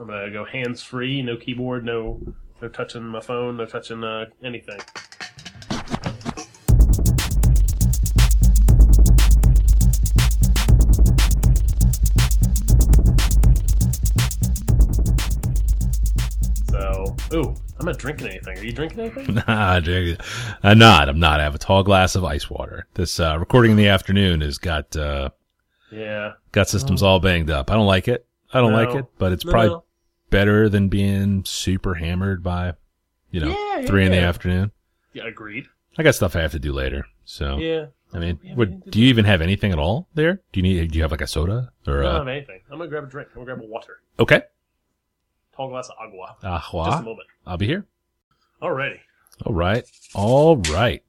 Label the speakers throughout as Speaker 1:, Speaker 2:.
Speaker 1: I'm gonna go hands free, no keyboard, no no touching my phone, no touching uh, anything. So, ooh, I'm not drinking anything. Are you drinking anything?
Speaker 2: Nah, Jake, I'm not. I'm not. I have a tall glass of ice water. This uh, recording in the afternoon has got uh,
Speaker 1: Yeah.
Speaker 2: got systems all banged up. I don't like it. I don't
Speaker 1: Oh. No.
Speaker 2: like it, but it's
Speaker 1: No,
Speaker 2: probably
Speaker 1: no.
Speaker 2: better than being super hammered by, you know,
Speaker 1: Yeah, yeah,
Speaker 2: three in the
Speaker 1: yeah.
Speaker 2: afternoon.
Speaker 1: Yeah, agreed.
Speaker 2: I got stuff I have to do later. So
Speaker 1: Yeah.
Speaker 2: I mean,
Speaker 1: We haven't
Speaker 2: what
Speaker 1: even
Speaker 2: do you even have anything at all there? Do you need? Do you have like a soda or?
Speaker 1: I don't
Speaker 2: Uh,
Speaker 1: have anything. I'm gonna grab a drink. I'm gonna grab a water.
Speaker 2: okay,
Speaker 1: Tall glass of agua. Just a
Speaker 2: Ahua.
Speaker 1: moment.
Speaker 2: I'll be here.
Speaker 1: Alrighty.
Speaker 2: All right, all right.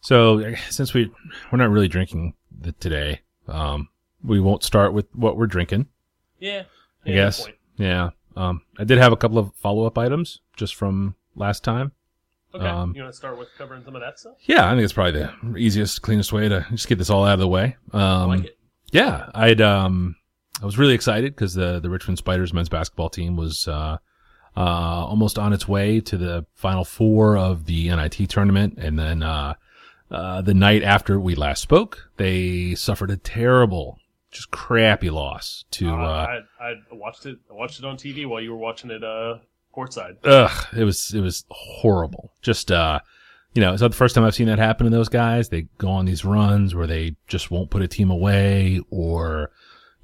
Speaker 2: So I- since we we're not really drinking the, today, um, we won't start with what we're drinking.
Speaker 1: Yeah.
Speaker 2: I
Speaker 1: yeah good
Speaker 2: guess.
Speaker 1: point.
Speaker 2: Yeah. Um, I did have a couple of follow up items just from last time.
Speaker 1: Okay.
Speaker 2: Um,
Speaker 1: you want to start with covering some of that stuff?
Speaker 2: Yeah, I think it's probably the easiest, cleanest way to just get this all out of the way. Um,
Speaker 1: I like it.
Speaker 2: Yeah, I'd um, I was really excited because the the Richmond Spiders men's basketball team was uh, uh, almost on its way to the final four of the NIT tournament, and then uh, uh, the night after we last spoke, they suffered a terrible, just crappy loss to.
Speaker 1: Uh,
Speaker 2: Uh,
Speaker 1: I, I watched it. I watched it on TV while you were watching it uh, courtside.
Speaker 2: ugh, it was it was horrible. Just uh, you know, it's not the first time I've seen that happen to those guys. They go on these runs where they just won't put a team away, or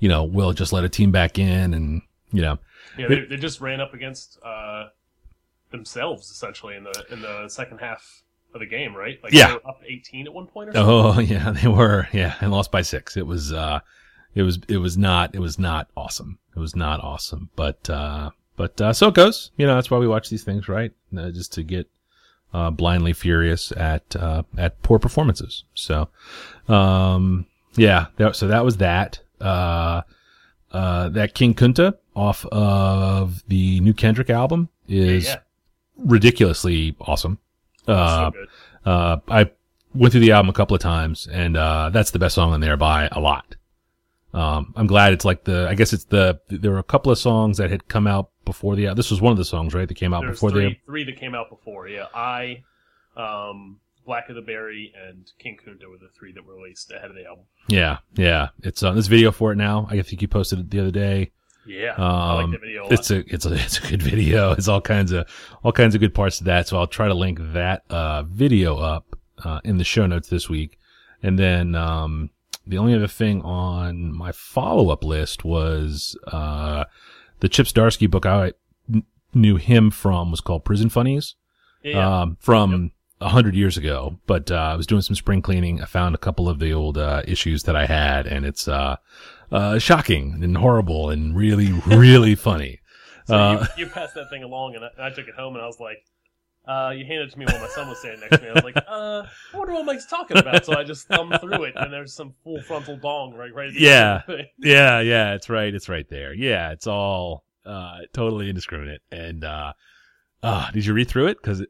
Speaker 2: you know, will just let a team back in, and you know,
Speaker 1: Yeah, they, they just ran up against uh, themselves essentially in the in the second half of the game, right? Like
Speaker 2: Yeah.
Speaker 1: they were up 18 at one point or something.
Speaker 2: oh yeah, they were yeah, and lost by six. It was uh, it was it was not it was not awesome. It was not awesome, but uh, but uh, so it goes. You know, that's why we watch these things, right? Uh, just to get. Uh, blindly furious at uh, at poor performances. So, Um, yeah. That, so that was that. Uh, uh, that King Kunta off of the new Kendrick album is
Speaker 1: Yeah, yeah.
Speaker 2: ridiculously awesome.
Speaker 1: so
Speaker 2: Uh,
Speaker 1: good.
Speaker 2: uh, I went through the album a couple of times and, uh, that's the best song on there by a lot. Um, I'm glad it's like the, I guess it's the, there were a couple of songs that had come out before the, this was one of the songs, right? That came out
Speaker 1: There's
Speaker 2: before
Speaker 1: three,
Speaker 2: the,
Speaker 1: three that came out before. Yeah, I, um, Black of the Berry, and King Kunta were the three that were released ahead of the album.
Speaker 2: yeah, yeah. It's, uh, this video for it now. I think you posted it the other day.
Speaker 1: Yeah,
Speaker 2: Um,
Speaker 1: I like the video a lot.
Speaker 2: It's a it's a it's a good video. It's all kinds of all kinds of good parts to that. So I'll try to link that uh, video up uh, in the show notes this week. And then um, the only other thing on my follow up list was uh, the Chip Starsky book I kn- knew him from was called Prison Funnies
Speaker 1: yeah, yeah.
Speaker 2: um, from a hundred years ago. But uh, I was doing some spring cleaning. I found a couple of the old uh, issues that I had, and it's uh, uh, shocking and horrible and really, really funny.
Speaker 1: So
Speaker 2: uh,
Speaker 1: you, you passed that thing along, and I, and I took it home, and I was like, uh, you handed it to me while my son was standing next to me. I was like, uh, I wonder what Mike's talking about. So I just thumbed through it, and there's some full frontal dong right, right. At the
Speaker 2: Yeah.
Speaker 1: end of the thing.
Speaker 2: Yeah, yeah, it's right. It's right there. Yeah, it's all uh, totally indiscriminate. And uh, uh, did you read through it? Because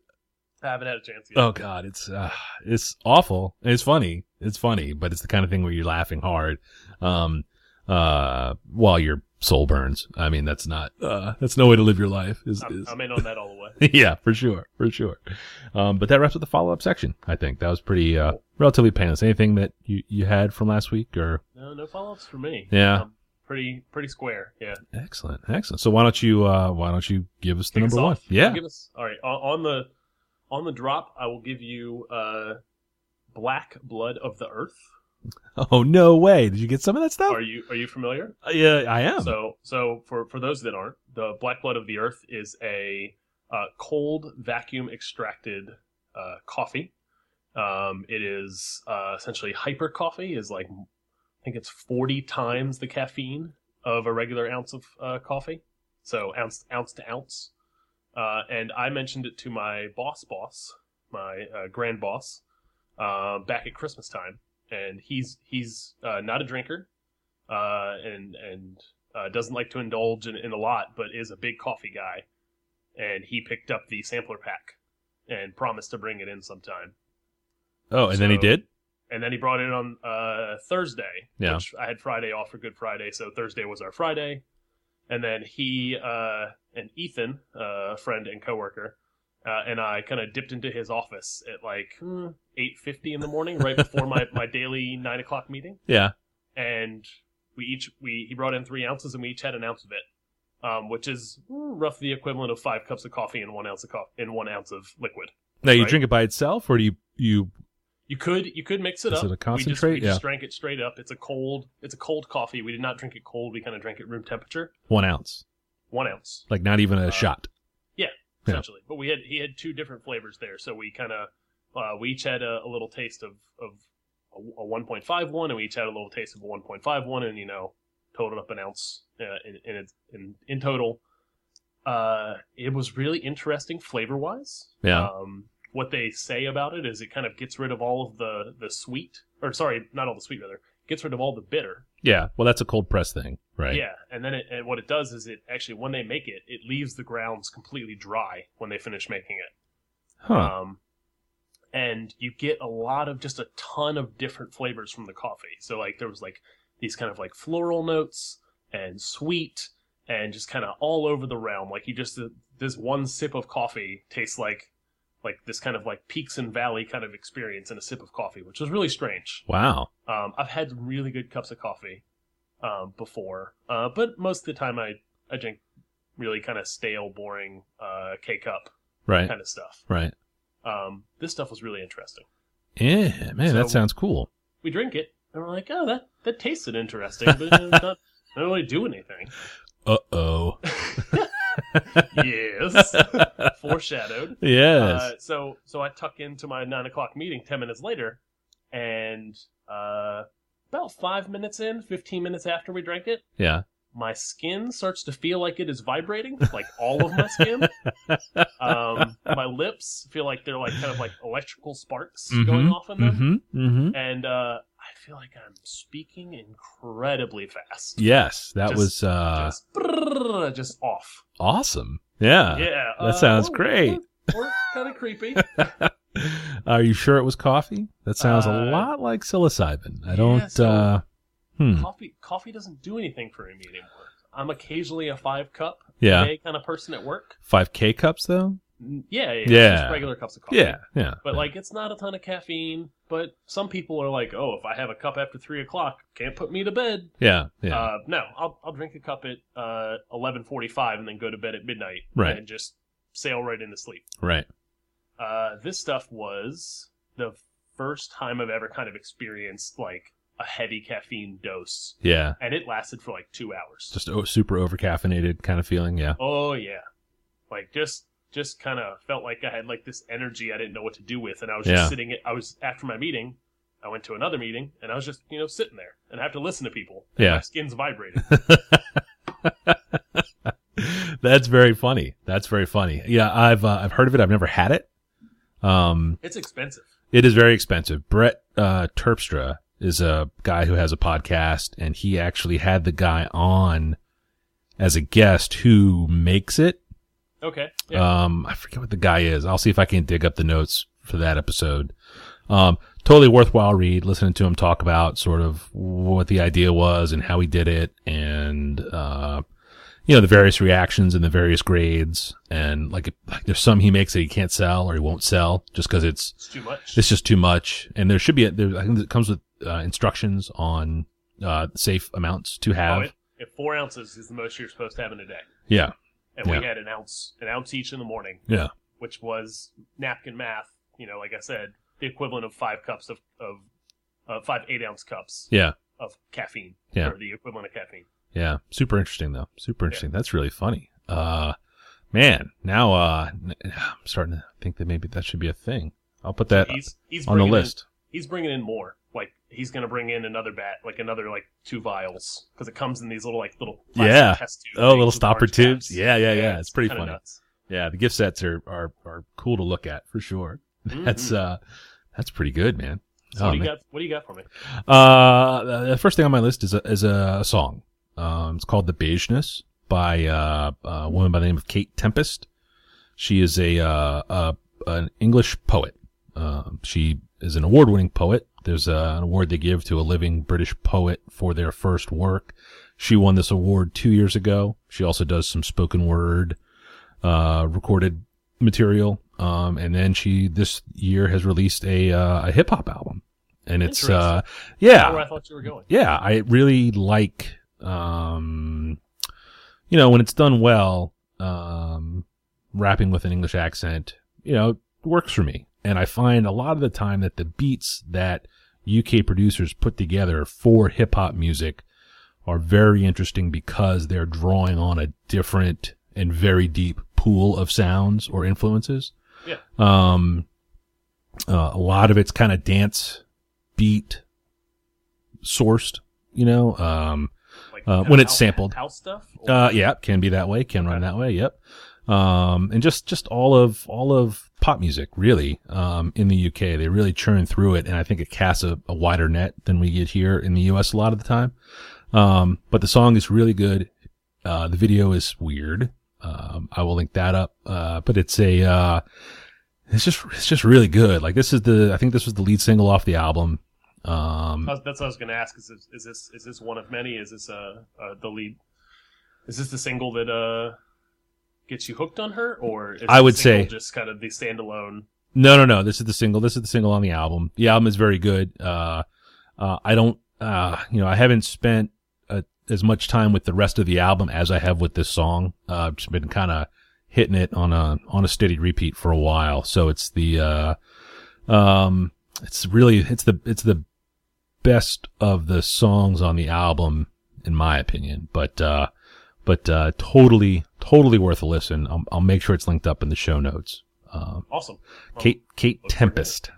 Speaker 1: I haven't had a chance yet.
Speaker 2: oh god, it's uh, it's awful. It's funny. It's funny, but it's the kind of thing where you're laughing hard, um, uh, while your soul burns. I mean, that's not uh, that's no way to live your life. Is,
Speaker 1: I'm,
Speaker 2: is
Speaker 1: I'm in on that all the way.
Speaker 2: yeah, for sure, for sure. Um, but that wraps up the follow up section. I think that was pretty uh, relatively painless. Anything that you you had from last week or
Speaker 1: No, no follow-ups for me.
Speaker 2: Yeah.
Speaker 1: Um, pretty, pretty square. Yeah.
Speaker 2: excellent, excellent. So why don't you uh, why don't you give us the
Speaker 1: Kick us
Speaker 2: number one?
Speaker 1: off.
Speaker 2: Yeah,
Speaker 1: Give us all right on, on the on the drop. I will give you uh, Black Blood of the Earth.
Speaker 2: Oh no way! Did you get some of that stuff?
Speaker 1: Are you are you familiar?
Speaker 2: Uh, yeah, I am.
Speaker 1: So so for for those that aren't, the Black Blood of the Earth is a uh, cold vacuum extracted uh, coffee. Um, it is uh, essentially hyper coffee. Is like I think it's forty times the caffeine of a regular ounce of uh, coffee. So ounce ounce to ounce. Uh, and I mentioned it to my boss boss, my uh, grand boss, uh, back at Christmas time. And he's he's uh, not a drinker, uh, and and uh, doesn't like to indulge in, in a lot, but is a big coffee guy. And he picked up the sampler pack and promised to bring it in sometime.
Speaker 2: oh, and then he
Speaker 1: so-
Speaker 2: did.
Speaker 1: And then he brought it on uh, Thursday,
Speaker 2: Yeah.
Speaker 1: which I had Friday off for Good Friday, so Thursday was our Friday. and then he uh, and Ethan, uh, a friend and coworker, uh, and I kind of dipped into his office at like hmm, eight fifty in the morning, right before my, my daily nine o'clock meeting.
Speaker 2: Yeah.
Speaker 1: And we each we he brought in three ounces, and we each had an ounce of it, um, which is roughly the equivalent of five cups of coffee and one ounce of coffee and one ounce of liquid.
Speaker 2: Now you
Speaker 1: Right.
Speaker 2: drink it by itself, or do you you?
Speaker 1: You could you could mix it
Speaker 2: Is
Speaker 1: up.
Speaker 2: it a
Speaker 1: We,
Speaker 2: concentrate?
Speaker 1: just, we just drank it straight up. It's a cold it's a cold coffee. We did not drink it cold. We kind of drank it room temperature,
Speaker 2: One ounce,
Speaker 1: one ounce
Speaker 2: like not even a
Speaker 1: Uh,
Speaker 2: shot. Yeah.
Speaker 1: essentially. But we had he had two different flavors there, so we kind of uh, we each had a, a little taste of of a, a 1.5 one, and we each had a little taste of a 1.5 one, and you know, totaled up an ounce uh, in in, its- in in total. Uh, it was really interesting flavor wise.
Speaker 2: Yeah.
Speaker 1: Um, what they say about it is it kind of gets rid of all of the the sweet, or sorry, not all the sweet rather, gets rid of all the bitter.
Speaker 2: Yeah. Well, that's a cold press thing, right?
Speaker 1: Yeah, and then it, and what it does is it actually when they make it, it leaves the grounds completely dry when they finish making it.
Speaker 2: Huh.
Speaker 1: Um, and you get a lot of just a ton of different flavors from the coffee. So like there was like these kind of like floral notes and sweet and just kind of all over the realm. Like you just this one sip of coffee tastes like like this kind of like peaks and valley kind of experience in a sip of coffee, which was really strange.
Speaker 2: Wow.
Speaker 1: Um, I've had really good cups of coffee um, before, uh, but most of the time I I drink really kind of stale, boring uh, K cup
Speaker 2: Right.
Speaker 1: kind of stuff
Speaker 2: Right.
Speaker 1: um, this stuff was really interesting.
Speaker 2: Yeah, man, that
Speaker 1: So-
Speaker 2: sounds cool.
Speaker 1: We drink it, and we're like, oh, that, that tasted interesting, but it doesn't not really do anything.
Speaker 2: Uh oh.
Speaker 1: yes, foreshadowed.
Speaker 2: yes.
Speaker 1: Uh, so, so I tuck into my nine o'clock meeting ten minutes later, and uh, about five minutes in, fifteen minutes after we drank it,
Speaker 2: yeah.
Speaker 1: my skin starts to feel like it is vibrating, like all of my skin. um, my lips feel like they're like kind of like electrical sparks going off in them.
Speaker 2: Mm hmm. Mm hmm.
Speaker 1: and uh, I feel like I'm speaking incredibly fast.
Speaker 2: Yes, that
Speaker 1: Just-
Speaker 2: was uh,
Speaker 1: just, brrrr, just off.
Speaker 2: awesome. Yeah.
Speaker 1: yeah,
Speaker 2: Uh,
Speaker 1: uh, oh,
Speaker 2: that sounds
Speaker 1: or-
Speaker 2: great.
Speaker 1: Or, kind of creepy.
Speaker 2: Are you sure it was coffee? That sounds
Speaker 1: Uh,
Speaker 2: a lot like psilocybin. I
Speaker 1: yeah,
Speaker 2: don't.
Speaker 1: so-
Speaker 2: uh, hmm.
Speaker 1: coffee, coffee doesn't do anything for me anymore. I'm occasionally a five cup a
Speaker 2: Yeah.
Speaker 1: day kind of person at work.
Speaker 2: Five K cups though.
Speaker 1: Mm, Yeah, yeah,
Speaker 2: Yeah.
Speaker 1: just regular cups of coffee.
Speaker 2: Yeah. Yeah.
Speaker 1: But like, it's not a ton of caffeine. But some people are like, "Oh, if I have a cup after three o'clock, can't put me to bed."
Speaker 2: Yeah. Yeah.
Speaker 1: Uh, no, I'll I'll drink a cup at uh, eleven forty five and then go to bed at midnight
Speaker 2: Right.
Speaker 1: and just sail right into sleep.
Speaker 2: right.
Speaker 1: Uh, this stuff was the first time I've ever kind of experienced like a heavy caffeine dose,
Speaker 2: Yeah.
Speaker 1: and it lasted for like two hours.
Speaker 2: Just o- super over caffeinated kind of feeling. Yeah.
Speaker 1: oh yeah, like just just kind of felt like I had like this energy I didn't know what to do with, and I was
Speaker 2: Yeah.
Speaker 1: just sitting. I was after my meeting. I went to another meeting and I was just, you know, sitting there and I have to listen to people. and
Speaker 2: Yeah.
Speaker 1: My skin's vibrating.
Speaker 2: That's very funny. That's very funny. Yeah, I've uh, I've heard of it. I've never had it. Um,
Speaker 1: It's expensive.
Speaker 2: It is very expensive. Brett uh, Terpstra is a guy who has a podcast, and he actually had the guy on as a guest who makes it.
Speaker 1: Okay. Yeah.
Speaker 2: Um, I forget what the guy is. I'll see if I can dig up the notes for that episode. Um, totally worthwhile read. Listening to him talk about sort of what the idea was and how he did it, and uh, you know the various reactions and the various grades, and like, like there's some he makes that he can't sell or he won't sell just because it's
Speaker 1: it's too much.
Speaker 2: it's just too much and there should be a, there, i think it comes with uh, instructions on uh, safe amounts to have
Speaker 1: Oh, it, if four ounces is the most you're supposed to have in a day,
Speaker 2: yeah
Speaker 1: and
Speaker 2: Yeah.
Speaker 1: we had an ounce, an ounce each in the morning.
Speaker 2: Yeah.
Speaker 1: which was napkin math. You know, like I said, the equivalent of five cups of of uh, five eight ounce cups
Speaker 2: yeah
Speaker 1: of caffeine,
Speaker 2: Yeah.
Speaker 1: or the equivalent of caffeine.
Speaker 2: yeah super interesting though super interesting that's really funny uh man now uh n- i'm starting to think that maybe that should be a thing i'll put that
Speaker 1: He's he's
Speaker 2: on the
Speaker 1: bringing in-
Speaker 2: list
Speaker 1: he's bringing in more. Like he's gonna bring in another bat, like another like two vials, because it comes in these little like little plastic
Speaker 2: Yeah.
Speaker 1: test tubes
Speaker 2: oh
Speaker 1: things
Speaker 2: little
Speaker 1: with
Speaker 2: stopper
Speaker 1: large
Speaker 2: tubes
Speaker 1: caps.
Speaker 2: yeah yeah yeah it's pretty
Speaker 1: kinda
Speaker 2: funny
Speaker 1: nuts.
Speaker 2: yeah the gift sets are are, are cool to look at for sure that's
Speaker 1: Mhm.
Speaker 2: uh that's pretty good man
Speaker 1: So
Speaker 2: oh,
Speaker 1: what do you
Speaker 2: man.
Speaker 1: got? What do you got for me?
Speaker 2: Uh, the first thing on my list is a, is a song. Um, it's called "The Beigeness" by uh, a woman by the name of Kate Tempest. She is a, uh, a an English poet. Um she is an award winning poet. There's uh an award they give to a living British poet for their first work. She won this award two years ago. She also does some spoken word, uh, recorded material. Um, and then she this year has released a uh, a hip hop album, and it's uh,
Speaker 1: Not where
Speaker 2: yeah,
Speaker 1: I thought you were going.
Speaker 2: yeah. I really like, um, you know, when it's done well, um, rapping with an English accent, you know, works for me. And I find a lot of the time that the beats that UK producers put together for hip hop music are very interesting because they're drawing on a different and very deep pool of sounds or influences.
Speaker 1: Yeah.
Speaker 2: Um, uh, a lot of it's kind of dance beat sourced, you know, um,
Speaker 1: Like,
Speaker 2: Uh, when it's
Speaker 1: house-
Speaker 2: sampled.
Speaker 1: House stuff? Or-
Speaker 2: uh, yeah, can be that way. Can run
Speaker 1: Okay.
Speaker 2: that way. Yep. Um, and just just all of all of pop music really. Um, in the UK, they really churn through it, and I think it casts a, a wider net than we get here in the US a lot of the time. Um, but the song is really good. Uh, the video is weird. Um, I will link that up. Uh, but it's a uh, it's just it's just really good. Like this is the I think this was the lead single off the album. Um,
Speaker 1: I was- That's what I was going to ask. Is this, is this is this one of many? Is this uh, uh the lead? Is this the single that uh gets you hooked on her, or is
Speaker 2: I
Speaker 1: this
Speaker 2: would
Speaker 1: single
Speaker 2: say-
Speaker 1: just kind of the standalone?
Speaker 2: No, no, no. This is the single. This is the single on the album. The album is very good. Uh, uh, I don't, uh, you know, I haven't spent uh, as much time with the rest of the album as I have with this song. Uh, I've just been kind of hitting it on a on a steady repeat for a while. So it's the, uh, um, it's really it's the it's the best of the songs on the album in my opinion. But uh, but uh, totally totally worth a listen. I'll, I'll make sure it's linked up in the show notes. Um,
Speaker 1: Awesome. Well,
Speaker 2: Kate Kate
Speaker 1: Look for
Speaker 2: Tempest.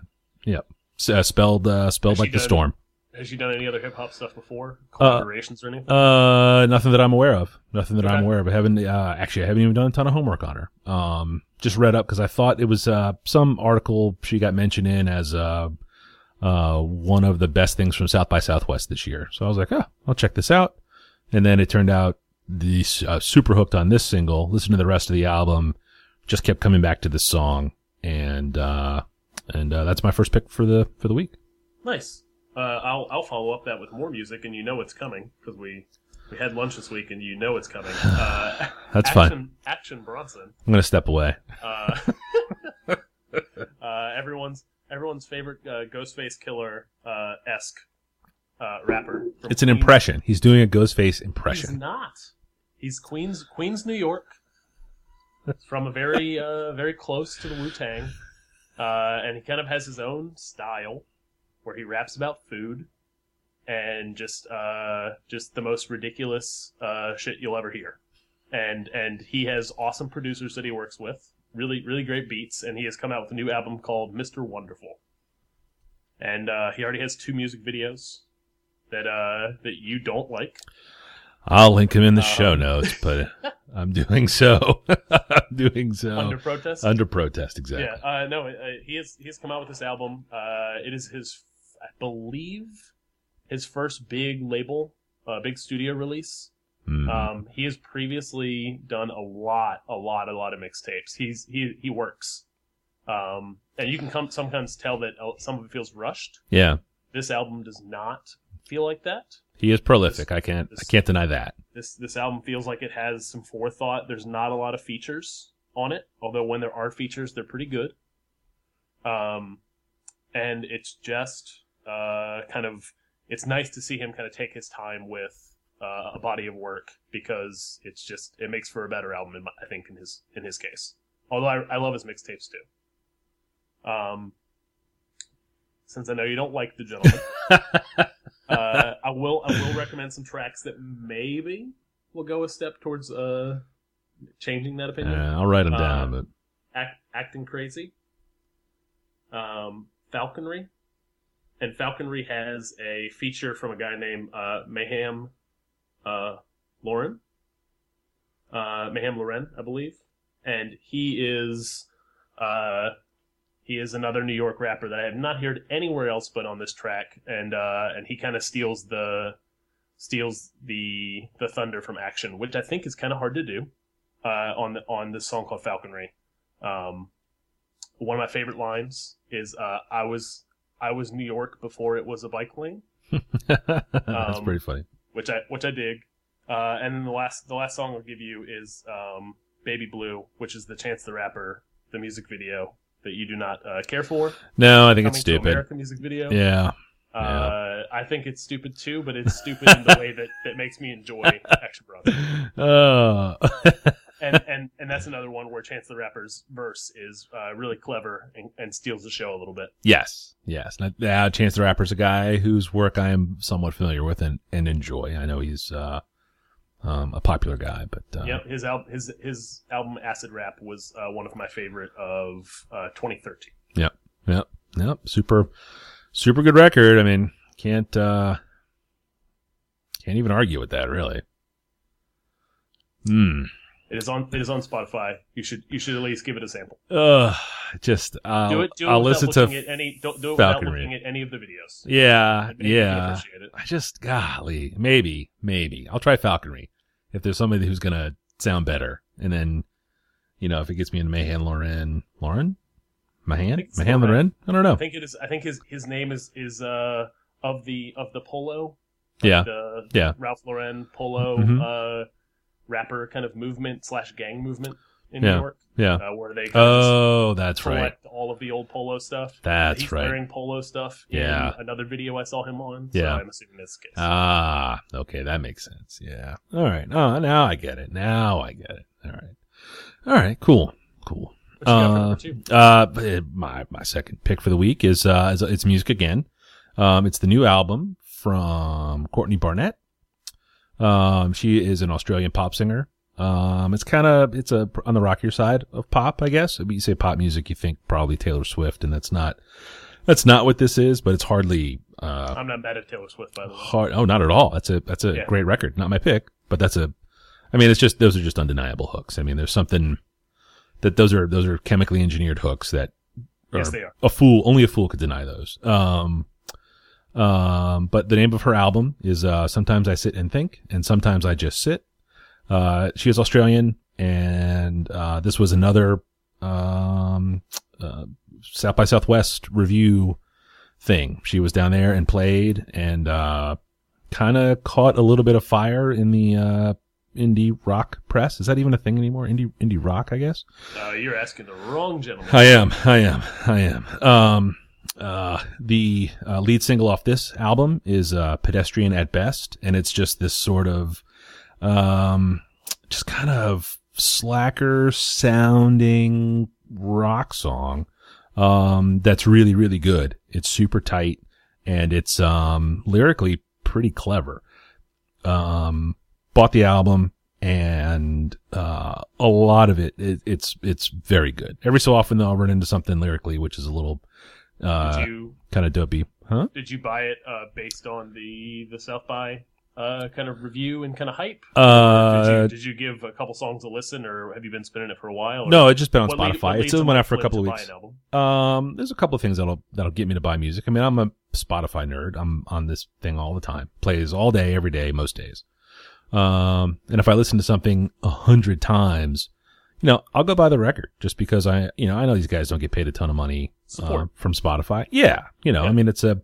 Speaker 2: Yep. S- uh, spelled uh, spelled
Speaker 1: Has
Speaker 2: like
Speaker 1: she
Speaker 2: the
Speaker 1: done-
Speaker 2: storm.
Speaker 1: Has she done any other hip hop stuff before?
Speaker 2: Uh,
Speaker 1: Collaborations or anything?
Speaker 2: Uh, nothing that I'm aware of. Nothing that I'm
Speaker 1: Okay.
Speaker 2: aware of. I haven't uh, actually I haven't even done a ton of homework on her. Um, just read up because I thought it was uh some article she got mentioned in as uh uh one of the best things from South by Southwest this year. So I was like, oh, I'll check this out. And then it turned out the uh, super hooked on this single. Listen to the rest of the album. Just kept coming back to this song, and uh, and uh, that's my first pick for the for the week.
Speaker 1: Nice. Uh, I'll I'll follow up that with more music, and you know it's coming because we we had lunch this week, and you know it's coming. Uh,
Speaker 2: That's
Speaker 1: action,
Speaker 2: fine.
Speaker 1: Action Bronson.
Speaker 2: I'm gonna step away.
Speaker 1: Uh, uh, everyone's everyone's favorite uh, Ghostface Killer uh, esque uh, rapper. from
Speaker 2: It's an
Speaker 1: Queens.
Speaker 2: impression. He's doing a Ghostface impression.
Speaker 1: He's not. He's Queens Queens New York. From a very uh, very close to the Wu Tang, uh, and he kind of has his own style where he raps about food and just uh, just the most ridiculous uh, shit you'll ever hear. And and he has awesome producers that he works with, really really great beats, and he has come out with a new album called Mr. Wonderful. And uh, he already has two music videos that uh, that you don't like.
Speaker 2: I'll link him in the
Speaker 1: Um,
Speaker 2: show notes, but I'm doing so. I'm doing so
Speaker 1: under
Speaker 2: under,
Speaker 1: protest.
Speaker 2: protest, exactly.
Speaker 1: yeah, uh, no, uh, he has he has come out with this album. Uh, it is his, I believe, his first big label, uh, big studio release.
Speaker 2: Mm.
Speaker 1: Um, he has previously done a lot, a lot, a lot of mixtapes. He's he he works, um, and you can come sometimes tell that uh, some of it feels rushed.
Speaker 2: yeah,
Speaker 1: This album does not feel like that.
Speaker 2: he is prolific. I can't. I
Speaker 1: this-
Speaker 2: can't deny that.
Speaker 1: This this album feels like it has some forethought. There's not a lot of features on it, although when there are features, they're pretty good. Um, and it's just uh, kind of it's nice to see him kind of take his time with uh, a body of work because it's just it makes for a better album, in my, I think, in his in his case. Although I, I love his mixtapes too. Um, since I know you don't like the gentleman, uh, I will I will recommend some tracks that maybe will go a step towards uh, changing that opinion
Speaker 2: Uh, I'll write him
Speaker 1: Uh,
Speaker 2: down, but
Speaker 1: act, acting crazy. Um, Falconry, and Falconry has a feature from a guy named uh, Mayhem uh, Lauren, uh, Mayhem Loren, I believe, and he is uh, he is another New York rapper that I have not heard anywhere else but on this track, and uh, and he kind of steals the steals the the thunder from Action, which I think is kind of hard to do uh, on the, on this song called Falconry. Um, one of my favorite lines is uh, "I was I was New York before it was a bike lane,"
Speaker 2: that's
Speaker 1: um,
Speaker 2: pretty funny.
Speaker 1: which I which I dig. Uh, and then the last the last song I'll give you is um, "Baby Blue," which is the Chance the Rapper the music video that you do not uh, care for.
Speaker 2: No, I think
Speaker 1: Coming
Speaker 2: it's
Speaker 1: to
Speaker 2: stupid.
Speaker 1: America music video.
Speaker 2: Yeah.
Speaker 1: Uh, I think it's stupid too, but it's stupid in the way that, that makes me enjoy Extra Brother.
Speaker 2: Oh.
Speaker 1: And, and and that's another one where Chance the Rapper's verse is uh, really clever and, and steals the show a little bit.
Speaker 2: yes. Yes. Now, uh, Chance the Rapper's a guy whose work I am somewhat familiar with and, and enjoy. I know he's uh, um, a popular guy, but uh,
Speaker 1: Yep, his al- his his album Acid Rap was uh, one of my favorite of uh, 2013.
Speaker 2: Yep. Yep. Super, super good record. I mean, can't, uh, can't even argue with that, really. Hmm.
Speaker 1: It is on it is on Spotify. You should you should at least give it a sample.
Speaker 2: Ugh. Just, I'll,
Speaker 1: do it. Do it
Speaker 2: I'll
Speaker 1: without
Speaker 2: listen to.
Speaker 1: looking at any. Don't do it without
Speaker 2: Falconry.
Speaker 1: looking at any of the videos.
Speaker 2: yeah.
Speaker 1: I'd really
Speaker 2: Yeah.
Speaker 1: appreciate it.
Speaker 2: I just, golly, maybe, maybe. I'll try falconry if there's somebody who's going to sound better. And then, you know, if it gets me into Mahan Lauren, Lauren?
Speaker 1: I
Speaker 2: Mahan?
Speaker 1: think it's
Speaker 2: Mahan
Speaker 1: Lauren.
Speaker 2: Lauren? I don't know.
Speaker 1: I think it is. I think his his name is is uh of the of the polo.
Speaker 2: Yeah.
Speaker 1: The
Speaker 2: Yeah.
Speaker 1: Ralph Lauren polo
Speaker 2: Mhm.
Speaker 1: uh rapper kind of movement slash gang movement in
Speaker 2: Yeah.
Speaker 1: New York.
Speaker 2: Yeah.
Speaker 1: Uh, where they kind of
Speaker 2: Oh, that's
Speaker 1: just
Speaker 2: right.
Speaker 1: collect all of the old polo stuff.
Speaker 2: That's
Speaker 1: He's
Speaker 2: right.
Speaker 1: Wearing polo stuff.
Speaker 2: Yeah.
Speaker 1: In another video I saw him on.
Speaker 2: Yeah.
Speaker 1: So I'm assuming this case.
Speaker 2: Ah, okay, that makes sense. Yeah. All right. Oh, now I get it. Now I get it. All right. All right. Cool. Cool.
Speaker 1: What you got for
Speaker 2: uh,
Speaker 1: number two?
Speaker 2: Uh, but my my second pick for the week is uh, is it's music again. Um, it's the new album from Courtney Barnett. Um, she is an Australian pop singer. Um, it's kind of it's a on the rockier side of pop, I guess. I mean, you say pop music, you think probably Taylor Swift, and that's not that's not what this is. But it's hardly uh,
Speaker 1: I'm not mad at Taylor Swift by the way.
Speaker 2: hard. Oh, not at all. That's a that's a
Speaker 1: Yeah.
Speaker 2: great record. Not my pick, but that's a. I mean, it's just those are just undeniable hooks. I mean, there's something that those are those are chemically engineered hooks that.
Speaker 1: Yes, they are.
Speaker 2: A fool, only a fool could deny those. Um, um, but the name of her album is uh, "Sometimes I Sit and Think," and sometimes I just sit. Uh, she is Australian, and uh, this was another um, uh, South by Southwest review thing. She was down there and played, and uh, kind of caught a little bit of fire in the uh, indie rock press. Is that even a thing anymore? Indie indie rock, I guess.
Speaker 1: Uh, you're asking the wrong gentleman.
Speaker 2: I am. I am. I am. Um, uh, the uh, lead single off this album is uh, "Pedestrian at Best," and it's just this sort of, um, just kind of slacker sounding rock song. Um, that's really really good. It's super tight, and it's um lyrically pretty clever. Um, bought the album and uh, a lot of it, it it's it's very good. Every so often though, I'll run into something lyrically which is a little uh,
Speaker 1: Did you
Speaker 2: kind of dopey, huh?
Speaker 1: did you buy it uh, based on the the South by uh, kind of review and kind of hype?
Speaker 2: Uh,
Speaker 1: did, you, did you give a couple songs a listen, or have you been spinning it for a while? Or
Speaker 2: no, it's just been on
Speaker 1: what lead-
Speaker 2: Spotify.
Speaker 1: what
Speaker 2: It's
Speaker 1: leads
Speaker 2: been
Speaker 1: someone
Speaker 2: out for a
Speaker 1: to
Speaker 2: couple of
Speaker 1: buy
Speaker 2: weeks.
Speaker 1: an album?
Speaker 2: Um, there's a couple of things that'll that'll get me to buy music. I mean, I'm a Spotify nerd. I'm on this thing all the time. Plays all day, every day, most days. Um, and if I listen to something a hundred times, you know, I'll go buy the record just because I, you know, I know these guys don't get paid a ton of money uh,
Speaker 1: Support.
Speaker 2: from Spotify. Yeah, you know,
Speaker 1: Yeah.
Speaker 2: I mean, it's a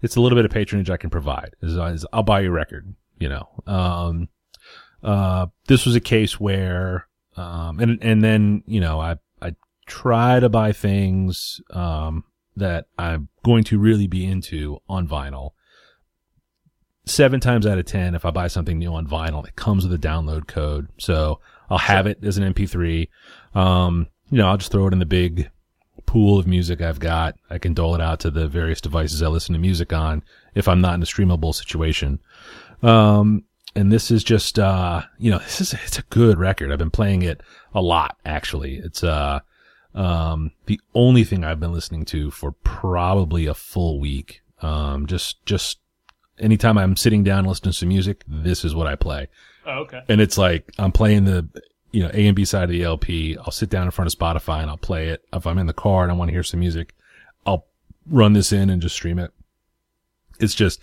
Speaker 2: it's a little bit of patronage I can provide. Is, is I'll buy your record. You know, um, uh, this was a case where, um, and and then you know, I I try to buy things um that I'm going to really be into on vinyl. Seven times out of ten, if I buy something new on vinyl, it comes with a download code, so I'll have it as an MP3. Um, you know, I'll just throw it in the big pool of music I've got. I can dole it out to the various devices I listen to music on if I'm not in a streamable situation. Um, and this is just, uh, you know, this is, it's a good record. I've been playing it a lot, actually. It's, uh, um, the only thing I've been listening to for probably a full week. Um, just, just anytime I'm sitting down listening to music, this is what I play
Speaker 1: Oh, okay.
Speaker 2: and it's like I'm playing the you know A and B side of the LP. I'll sit down in front of Spotify and I'll play it. If I'm in the car and I want to hear some music, I'll run this in and just stream it. It's just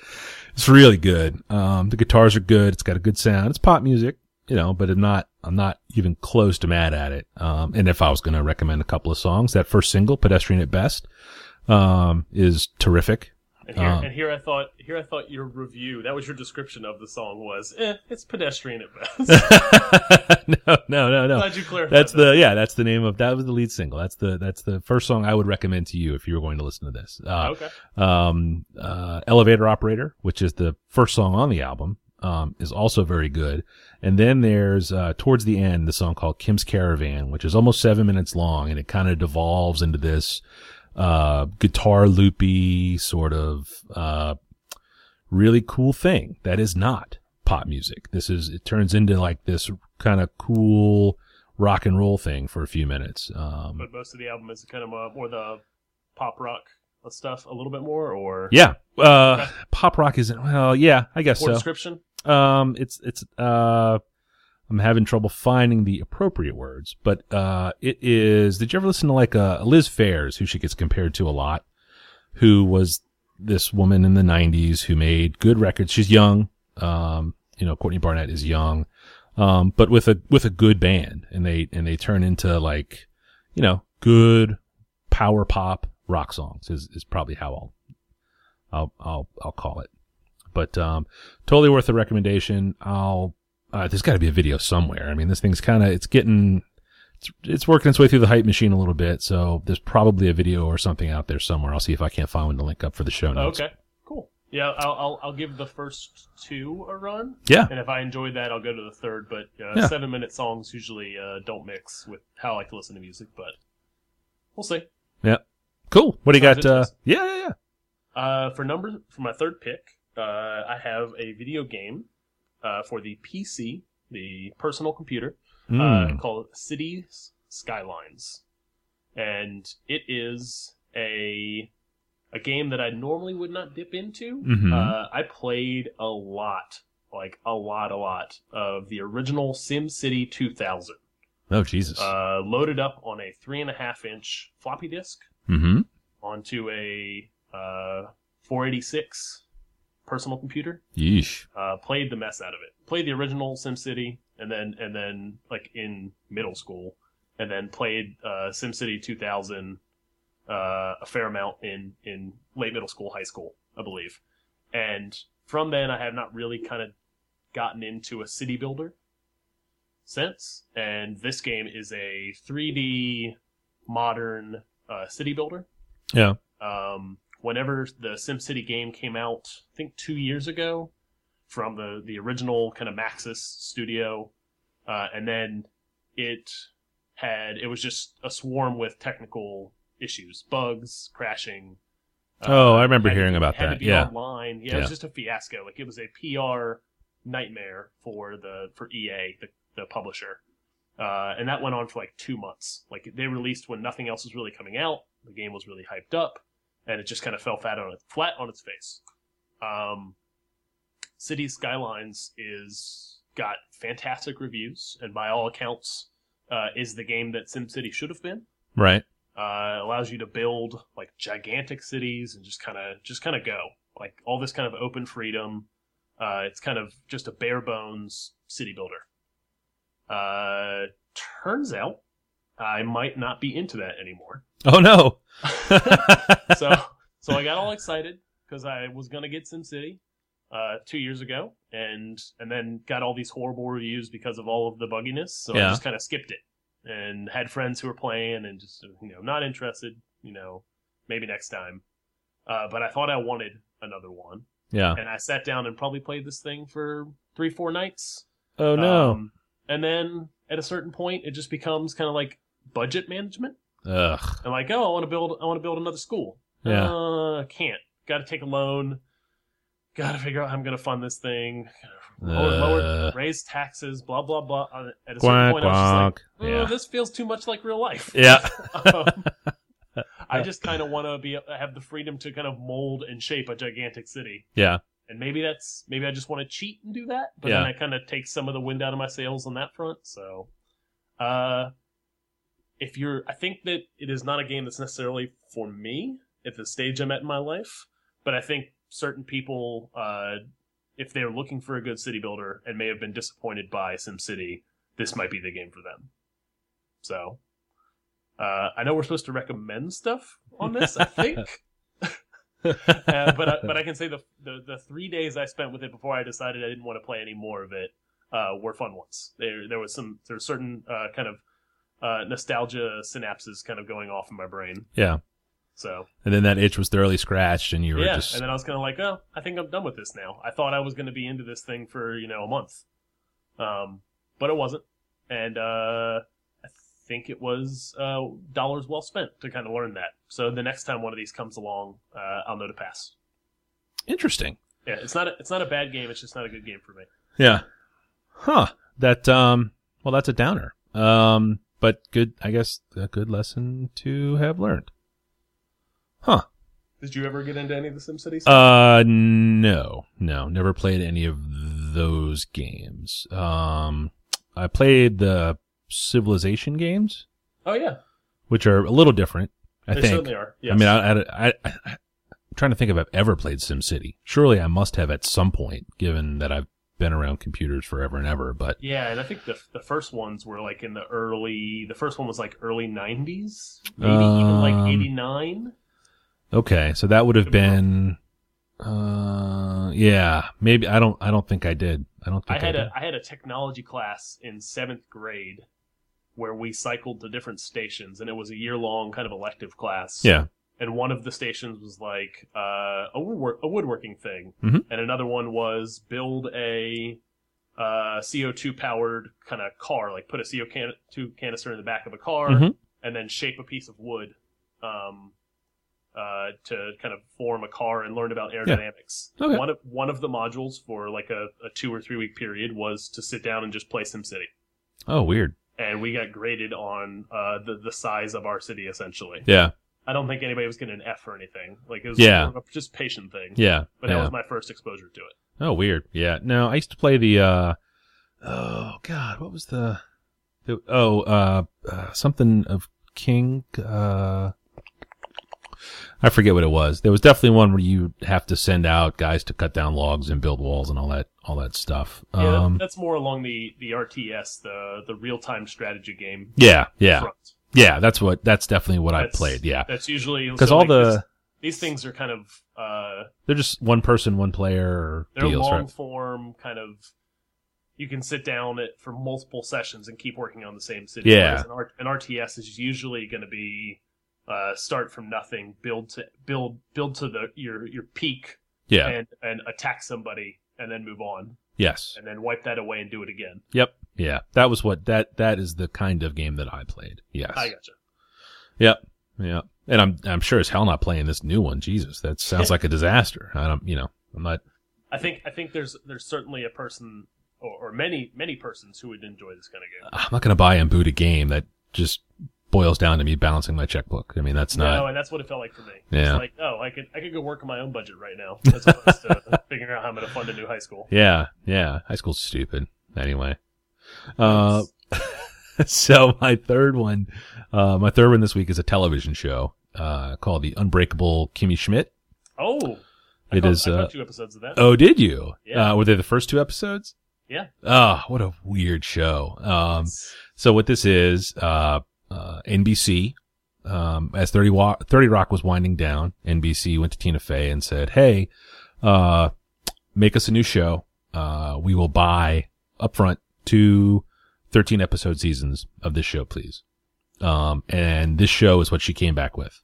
Speaker 2: it's really good. Um, the guitars are good. It's got a good sound. It's pop music, you know, but I'm not I'm not even close to mad at it. Um, and if I was going to recommend a couple of songs, that first single, "Pedestrian at Best," um, is terrific.
Speaker 1: And here,
Speaker 2: Um.
Speaker 1: and here I thought, here I thought your review—that was your description of the song—was, eh, it's pedestrian at best.
Speaker 2: no, no, no, no.
Speaker 1: Glad you clarified.
Speaker 2: That's
Speaker 1: that.
Speaker 2: the yeah. That's the name of that was the lead single. That's the that's the first song I would recommend to you if you were going to listen to this. Uh,
Speaker 1: okay.
Speaker 2: um, uh, Elevator Operator, which is the first song on the album, um, is also very good. And then there's uh, towards the end the song called Kim's Caravan, which is almost seven minutes long, and it kind of devolves into this uh, guitar loopy sort of uh, really cool thing that is not pop music. This is it turns into like this kind of cool rock and roll thing for a few minutes. Um,
Speaker 1: But most of the album is kind of uh, more the pop rock stuff, a little bit more, or
Speaker 2: yeah, uh, pop rock isn't well. Yeah, I guess
Speaker 1: more
Speaker 2: so.
Speaker 1: description.
Speaker 2: Um, it's it's uh, I'm having trouble finding the appropriate words, but uh, it is. Did you ever listen to like uh, Liz Fairs, who she gets compared to a lot, who was this woman in the '90s who made good records? She's young. Um, you know, Courtney Barnett is young, um, but with a with a good band, and they and they turn into like, you know, good power pop rock songs is is probably how I'll I'll I'll, I'll call it. But um, totally worth a recommendation. I'll uh, there's got to be a video somewhere. I mean, this thing's kind of it's getting it's it's working its way through the hype machine a little bit. So there's probably a video or something out there somewhere. I'll see if I can't find one to link up for the show
Speaker 1: Oh,
Speaker 2: notes.
Speaker 1: okay, cool. Yeah, I'll, I'll I'll give the first two a run.
Speaker 2: Yeah.
Speaker 1: And if I enjoy that, I'll go to the third. But uh,
Speaker 2: Yeah.
Speaker 1: seven minute songs usually uh, don't mix with how I like to listen to music, but we'll see.
Speaker 2: Cool. What do you
Speaker 1: Sounds
Speaker 2: got? Uh, yeah, yeah, yeah.
Speaker 1: Uh, for number for my third pick, uh, I have a video game uh, for the PC, the personal computer,
Speaker 2: Mm.
Speaker 1: uh, called Cities Skylines, and it is a a game that I normally would not dip into.
Speaker 2: Mhm.
Speaker 1: Uh, I played a lot, like a lot, a lot of the original SimCity 2000,
Speaker 2: oh Jesus.
Speaker 1: uh, loaded up on a three and a half inch floppy disk
Speaker 2: mm-hmm.
Speaker 1: onto a uh, 486 personal computer.
Speaker 2: Yeesh.
Speaker 1: Uh, played the mess out of it. Played the original SimCity, and then and then like in middle school, and then played uh, SimCity 2000 uh, a fair amount in in late middle school, high school, I believe. And from then, I have not really kind of gotten into a city builder since. And this game is a 3D modern uh, city builder.
Speaker 2: Yeah.
Speaker 1: Um, whenever the SimCity game came out, I think two years ago, from the the original kind of Maxis studio, uh, and then it had it was just a swarm with technical issues, bugs, crashing. Uh,
Speaker 2: Oh, I remember
Speaker 1: had to
Speaker 2: hearing
Speaker 1: be-
Speaker 2: about
Speaker 1: had to
Speaker 2: that,
Speaker 1: be
Speaker 2: yeah.
Speaker 1: online. Yeah, it
Speaker 2: Yeah.
Speaker 1: was just a fiasco. Like it was a PR nightmare for the for EA, the the publisher. Uh, and that went on for like two months. Like they released when nothing else was really coming out. The game was really hyped up, and it just kind of fell flat on it, flat on its face. Um, City Skylines is got fantastic reviews, and by all accounts, uh, is the game that SimCity should have been.
Speaker 2: Right.
Speaker 1: Uh, it allows you to build like gigantic cities and just kind of just kind of go like all this kind of open freedom. Uh, it's kind of just a bare bones city builder. Uh, turns out I might not be into that anymore.
Speaker 2: Oh no.
Speaker 1: so so I got all excited because I was gonna get SimCity uh, two years ago, and and then got all these horrible reviews because of all of the bugginess. So
Speaker 2: Yeah.
Speaker 1: I just kind of skipped it and had friends who were playing and just you know not interested. You know, maybe next time. Uh, but I thought I wanted another one,
Speaker 2: yeah.
Speaker 1: and I sat down and probably played this thing for three four nights.
Speaker 2: Oh no.
Speaker 1: Um, and then at a certain point, it just becomes kind of like budget management.
Speaker 2: Ugh.
Speaker 1: And like, oh, I want to build, I want to build another school.
Speaker 2: Yeah.
Speaker 1: Uh, can't. Got to take a loan. Got to figure out how I'm going to fund this thing. Oh, Lower,
Speaker 2: Uh.
Speaker 1: lower, raise taxes. Blah blah blah. Uh, At a certain
Speaker 2: Quack,
Speaker 1: point, I was
Speaker 2: quack.
Speaker 1: just like, oh, this feels too much like real life.
Speaker 2: yeah.
Speaker 1: Um, I just kind of want to be have the freedom to kind of mold and shape a gigantic city.
Speaker 2: Yeah.
Speaker 1: And maybe that's maybe I just want to cheat and do that, but
Speaker 2: Yeah.
Speaker 1: then I kind of take some of the wind out of my sails on that front. So, uh, if you're, I think that it is not a game that's necessarily for me at the stage I'm at in my life. But I think certain people, uh, if they're looking for a good city builder and may have been disappointed by SimCity, this might be the game for them. So, uh, I know we're supposed to recommend stuff on this, I think. uh, but I, but I can say the, the the three days I spent with it before I decided I didn't want to play any more of it uh, were fun ones. There there was some there were certain uh, kind of uh, nostalgia synapses kind of going off in my brain.
Speaker 2: yeah.
Speaker 1: So
Speaker 2: And then that itch was thoroughly scratched, and you were
Speaker 1: yeah,
Speaker 2: just
Speaker 1: and then I was kind of like, oh, I think I'm done with this now. I thought I was going to be into this thing for you know a month, um, but it wasn't, and uh, I think it was uh, dollars well spent to kind of learn that. So the next time one of these comes along, uh, I'll know to pass.
Speaker 2: interesting.
Speaker 1: Yeah, it's not a, it's not a bad game. It's just not a good game for me.
Speaker 2: Yeah. Huh. That um well that's a downer. Um but good I guess a good lesson to have learned. Huh.
Speaker 1: Did you ever get into any of the SimCities?
Speaker 2: Uh no. No, never played any of those games. Um I played the Civilization games,
Speaker 1: oh yeah,
Speaker 2: which are a little different, I
Speaker 1: they
Speaker 2: think.
Speaker 1: certainly are. Yes.
Speaker 2: I mean, I, I, I, I, I'm trying to think if I've ever played SimCity. Surely I must have at some point, given that I've been around computers forever and ever. But
Speaker 1: yeah, and I think the the first ones were like in the early. The first one was like early '90s, maybe even
Speaker 2: Um,
Speaker 1: like '89.
Speaker 2: Okay, so that would have
Speaker 1: Could be
Speaker 2: been, uh, yeah, maybe I don't, I don't think I did. I don't
Speaker 1: I
Speaker 2: think I,
Speaker 1: had
Speaker 2: did.
Speaker 1: a I had a technology class in seventh grade where we cycled to different stations, and it was a year long kind of elective class.
Speaker 2: yeah,
Speaker 1: And one of the stations was like uh, a woodwork a woodworking thing,
Speaker 2: Mhm.
Speaker 1: and another one was build a uh, CO two powered kind of car, like put a CO two canister in the back of a car,
Speaker 2: Mhm.
Speaker 1: and then shape a piece of wood. Um, uh, to kind of form a car and learn about aerodynamics.
Speaker 2: Okay.
Speaker 1: One of one of the modules for like a, a two or three week period was to sit down and just play SimCity,
Speaker 2: oh, weird.
Speaker 1: and we got graded on uh, the the size of our city essentially.
Speaker 2: Yeah,
Speaker 1: I don't think anybody was getting an F or anything. Like it was
Speaker 2: Yeah.
Speaker 1: more of a participation thing.
Speaker 2: yeah,
Speaker 1: But that
Speaker 2: yeah.
Speaker 1: was my first exposure to it.
Speaker 2: oh, weird. Yeah. No, I used to play the, uh, oh God, what was the, the oh, uh, uh, something of King, uh, I forget what it was. There was definitely one where you have to send out guys to cut down logs and build walls and all that, all that stuff.
Speaker 1: Yeah, that-
Speaker 2: um,
Speaker 1: that's more along the the RTS, the the real time strategy game.
Speaker 2: yeah, yeah,
Speaker 1: front.
Speaker 2: yeah. That's what. That's definitely what I
Speaker 1: That's-
Speaker 2: played. Yeah.
Speaker 1: That's usually
Speaker 2: because
Speaker 1: so,
Speaker 2: all
Speaker 1: like,
Speaker 2: the
Speaker 1: this- these things are kind of uh,
Speaker 2: they're just one person, one player
Speaker 1: They're
Speaker 2: deals,
Speaker 1: long
Speaker 2: right?
Speaker 1: form kind of. You can sit down at, for multiple sessions and keep working on the same city.
Speaker 2: Yeah.
Speaker 1: Whereas An, R- an RTS is usually going to be uh, start from nothing, build to build build to the your your peak,
Speaker 2: Yeah.
Speaker 1: and and attack somebody, and then move on,
Speaker 2: yes.
Speaker 1: and then wipe that away and do it again.
Speaker 2: Yep. Yeah. That was what that that is the kind of game that I played. Yes.
Speaker 1: I gotcha.
Speaker 2: yeah. And I'm I'm sure as hell not playing this new one. Jesus, that sounds like a disaster. I don't. You know. I'm not.
Speaker 1: I think I think there's there's certainly a person or, or many many persons who would enjoy this kind of game.
Speaker 2: I'm not going to buy and boot a game that just boils down to me balancing my checkbook. I mean, that's
Speaker 1: No,
Speaker 2: not.
Speaker 1: and that's what it felt like for me.
Speaker 2: Yeah.
Speaker 1: It's like, oh, I could I could go work on my own budget right now, as opposed to figuring out how I'm going to fund a new high school.
Speaker 2: Yeah. Yeah. High school's stupid. Anyway. Uh, so my third one, uh, my third one this week is a television show uh, called The Unbreakable Kimmy Schmidt.
Speaker 1: oh, I
Speaker 2: it
Speaker 1: caught,
Speaker 2: is,
Speaker 1: I caught
Speaker 2: uh,
Speaker 1: two episodes of that.
Speaker 2: Oh, did you?
Speaker 1: Yeah.
Speaker 2: Uh, were they the first two episodes?
Speaker 1: Yeah.
Speaker 2: Oh, what a weird show. Um, so what this is, uh, uh, NBC, um, as 30, Wa- 30 Rock was winding down, NBC went to Tina Fey and said, Hey, uh, make us a new show. Uh, we will buy upfront two 13 episode seasons of this show, please. Um, and this show is what she came back with.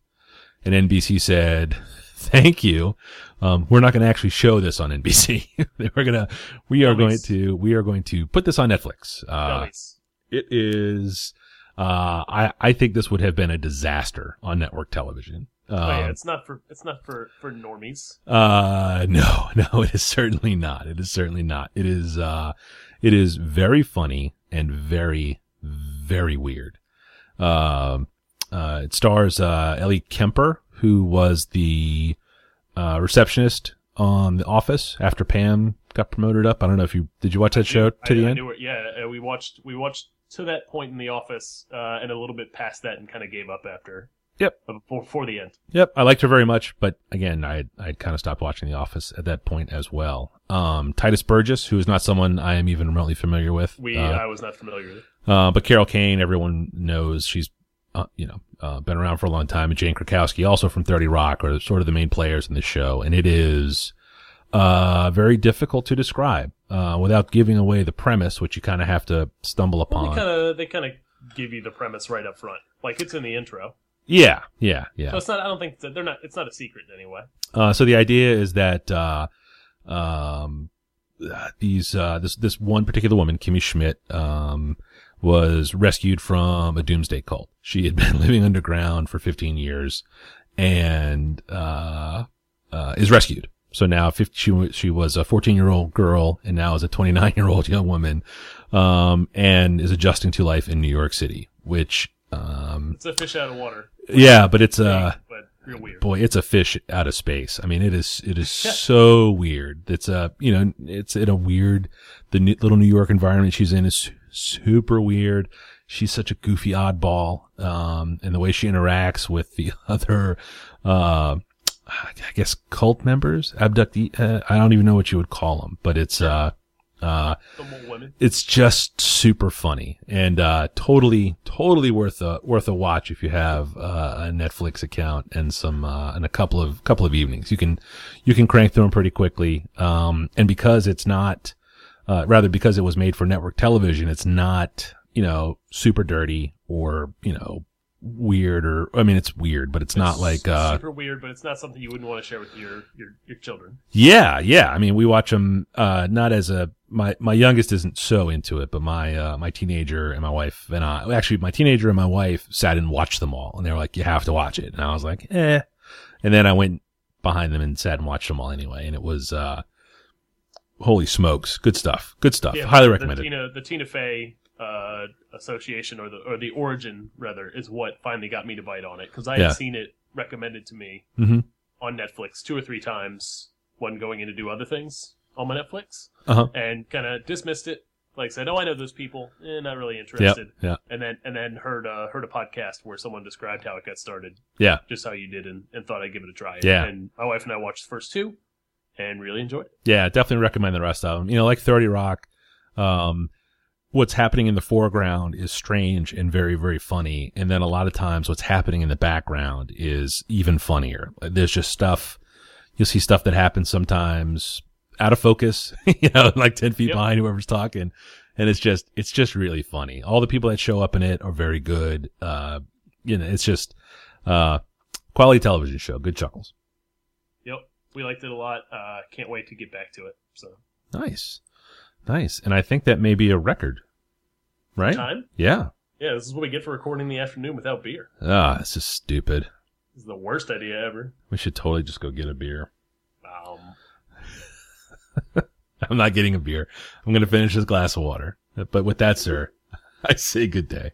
Speaker 2: And NBC said, thank you. Um, we're not going to actually show this on NBC. we're going to, we are going
Speaker 1: Nice.
Speaker 2: to, we are going to put this on Netflix. Uh,
Speaker 1: nice.
Speaker 2: it is. Uh, I I think this would have been a disaster on network television. Um,
Speaker 1: oh, yeah, it's not for it's not for for normies.
Speaker 2: uh, no, no, it is certainly not. It is certainly not. It is. Uh, it is very funny and very very weird. Um, uh, it stars uh, Ellie Kemper, who was the uh, receptionist on The Office after Pam got promoted up. I don't know if you did you watch that show
Speaker 1: I-
Speaker 2: to the
Speaker 1: I
Speaker 2: end.
Speaker 1: knew it- yeah, uh, we watched we watched to that point in the office, uh, and a little bit past that, and kind of gave up after.
Speaker 2: Yep.
Speaker 1: Uh, Before, before the end.
Speaker 2: Yep, I liked her very much, but again, I I kind of stopped watching The Office at that point as well. Um, Titus Burgess, who is not someone I am even remotely familiar with,
Speaker 1: We
Speaker 2: uh,
Speaker 1: I was not familiar with. it.
Speaker 2: uh, but Carol Kane, everyone knows she's uh, you know, uh, been around for a long time, and Jane Krakowski, also from 30 Rock, are sort of the main players in this show. And it is uh, very difficult to describe uh, without giving away the premise, which you kind of have to stumble
Speaker 1: Well,
Speaker 2: upon.
Speaker 1: they kind of they kind of give you the premise right up front, like it's in the intro.
Speaker 2: yeah, yeah, yeah.
Speaker 1: So it's not. I don't think that they're not. It's not a secret anyway.
Speaker 2: Uh, so the idea is that uh, um, uh, these uh, this this one particular woman, Kimmy Schmidt, um, was rescued from a doomsday cult. She had been living underground for 15 years, and uh, uh, is rescued. So now 50, she wa- she was a 14 year old girl, and now is a 29 year old young woman, um, and is adjusting to life in New York City, which. Um,
Speaker 1: It's a fish out of water.
Speaker 2: yeah, but it's uh
Speaker 1: thing, but real weird.
Speaker 2: boy it's a fish out of space i mean it is it is so weird it's a you know it's in a weird the new, little new york environment she's in is su- super weird she's such a goofy oddball um and the way she interacts with the other uh i guess cult members abductee uh, i don't even know what you would call them but it's uh uh
Speaker 1: The mole women.
Speaker 2: it's just super funny and uh, totally totally worth a worth a watch if you have uh, a Netflix account and some uh, and a couple of couple of evenings you can you can crank through them pretty quickly um, and because it's not uh, rather because it was made for network television it's not you know super dirty or you know weird or I mean it's weird but it's, not
Speaker 1: It's
Speaker 2: like uh,
Speaker 1: super weird, but it's not something you wouldn't want to share with your your, your children.
Speaker 2: yeah, yeah. I mean, we watch them uh, not as a my my youngest isn't so into it, but my uh, my teenager and my wife and I actually my teenager and my wife sat and watched them all, and they were like, "You have to watch it," and I was like, "Eh," and then I went behind them and sat and watched them all anyway, and it was uh, holy smokes, good stuff, good stuff. Highly
Speaker 1: the
Speaker 2: recommended.
Speaker 1: Tina, the Tina Fey uh, association, or the or the origin rather, is what finally got me to bite on it because I
Speaker 2: Yeah.
Speaker 1: had seen it recommended to me
Speaker 2: Mhm.
Speaker 1: on Netflix two or three times when going in to do other things on my Netflix,
Speaker 2: Uh-huh.
Speaker 1: and kind of dismissed it. Like said, oh, I know those people, eh, not really
Speaker 2: Yep,
Speaker 1: interested.
Speaker 2: yeah,
Speaker 1: And then and then heard uh, heard a podcast where someone described how it got started,
Speaker 2: yeah.
Speaker 1: just how you did, and, and thought I'd give it a try.
Speaker 2: Yeah.
Speaker 1: And my wife and I watched the first two, and really enjoyed it.
Speaker 2: Yeah, definitely recommend the rest of them. You know, like 30 Rock, um, what's happening in the foreground is strange and very, very funny. And then a lot of times what's happening in the background is even funnier. There's just stuff, you'll see stuff that happens sometimes out of focus, you know, like 10 feet
Speaker 1: Yep.
Speaker 2: behind whoever's talking. And it's just, it's just really funny. All the people that show up in it are very good. Uh, you know, it's just, uh, quality television show. Good chuckles.
Speaker 1: Yep, we liked it a lot. Uh, can't wait to get back to it. So
Speaker 2: Nice. Nice. And I think that may be a record. Right?
Speaker 1: time.
Speaker 2: Yeah.
Speaker 1: Yeah, this is what we get for recording in the afternoon without beer.
Speaker 2: Ah, this is stupid.
Speaker 1: This is the worst idea ever.
Speaker 2: We should totally just go get a beer.
Speaker 1: Um,
Speaker 2: I'm not getting a beer. I'm going to finish this glass of water. But with that, sir, I say good day.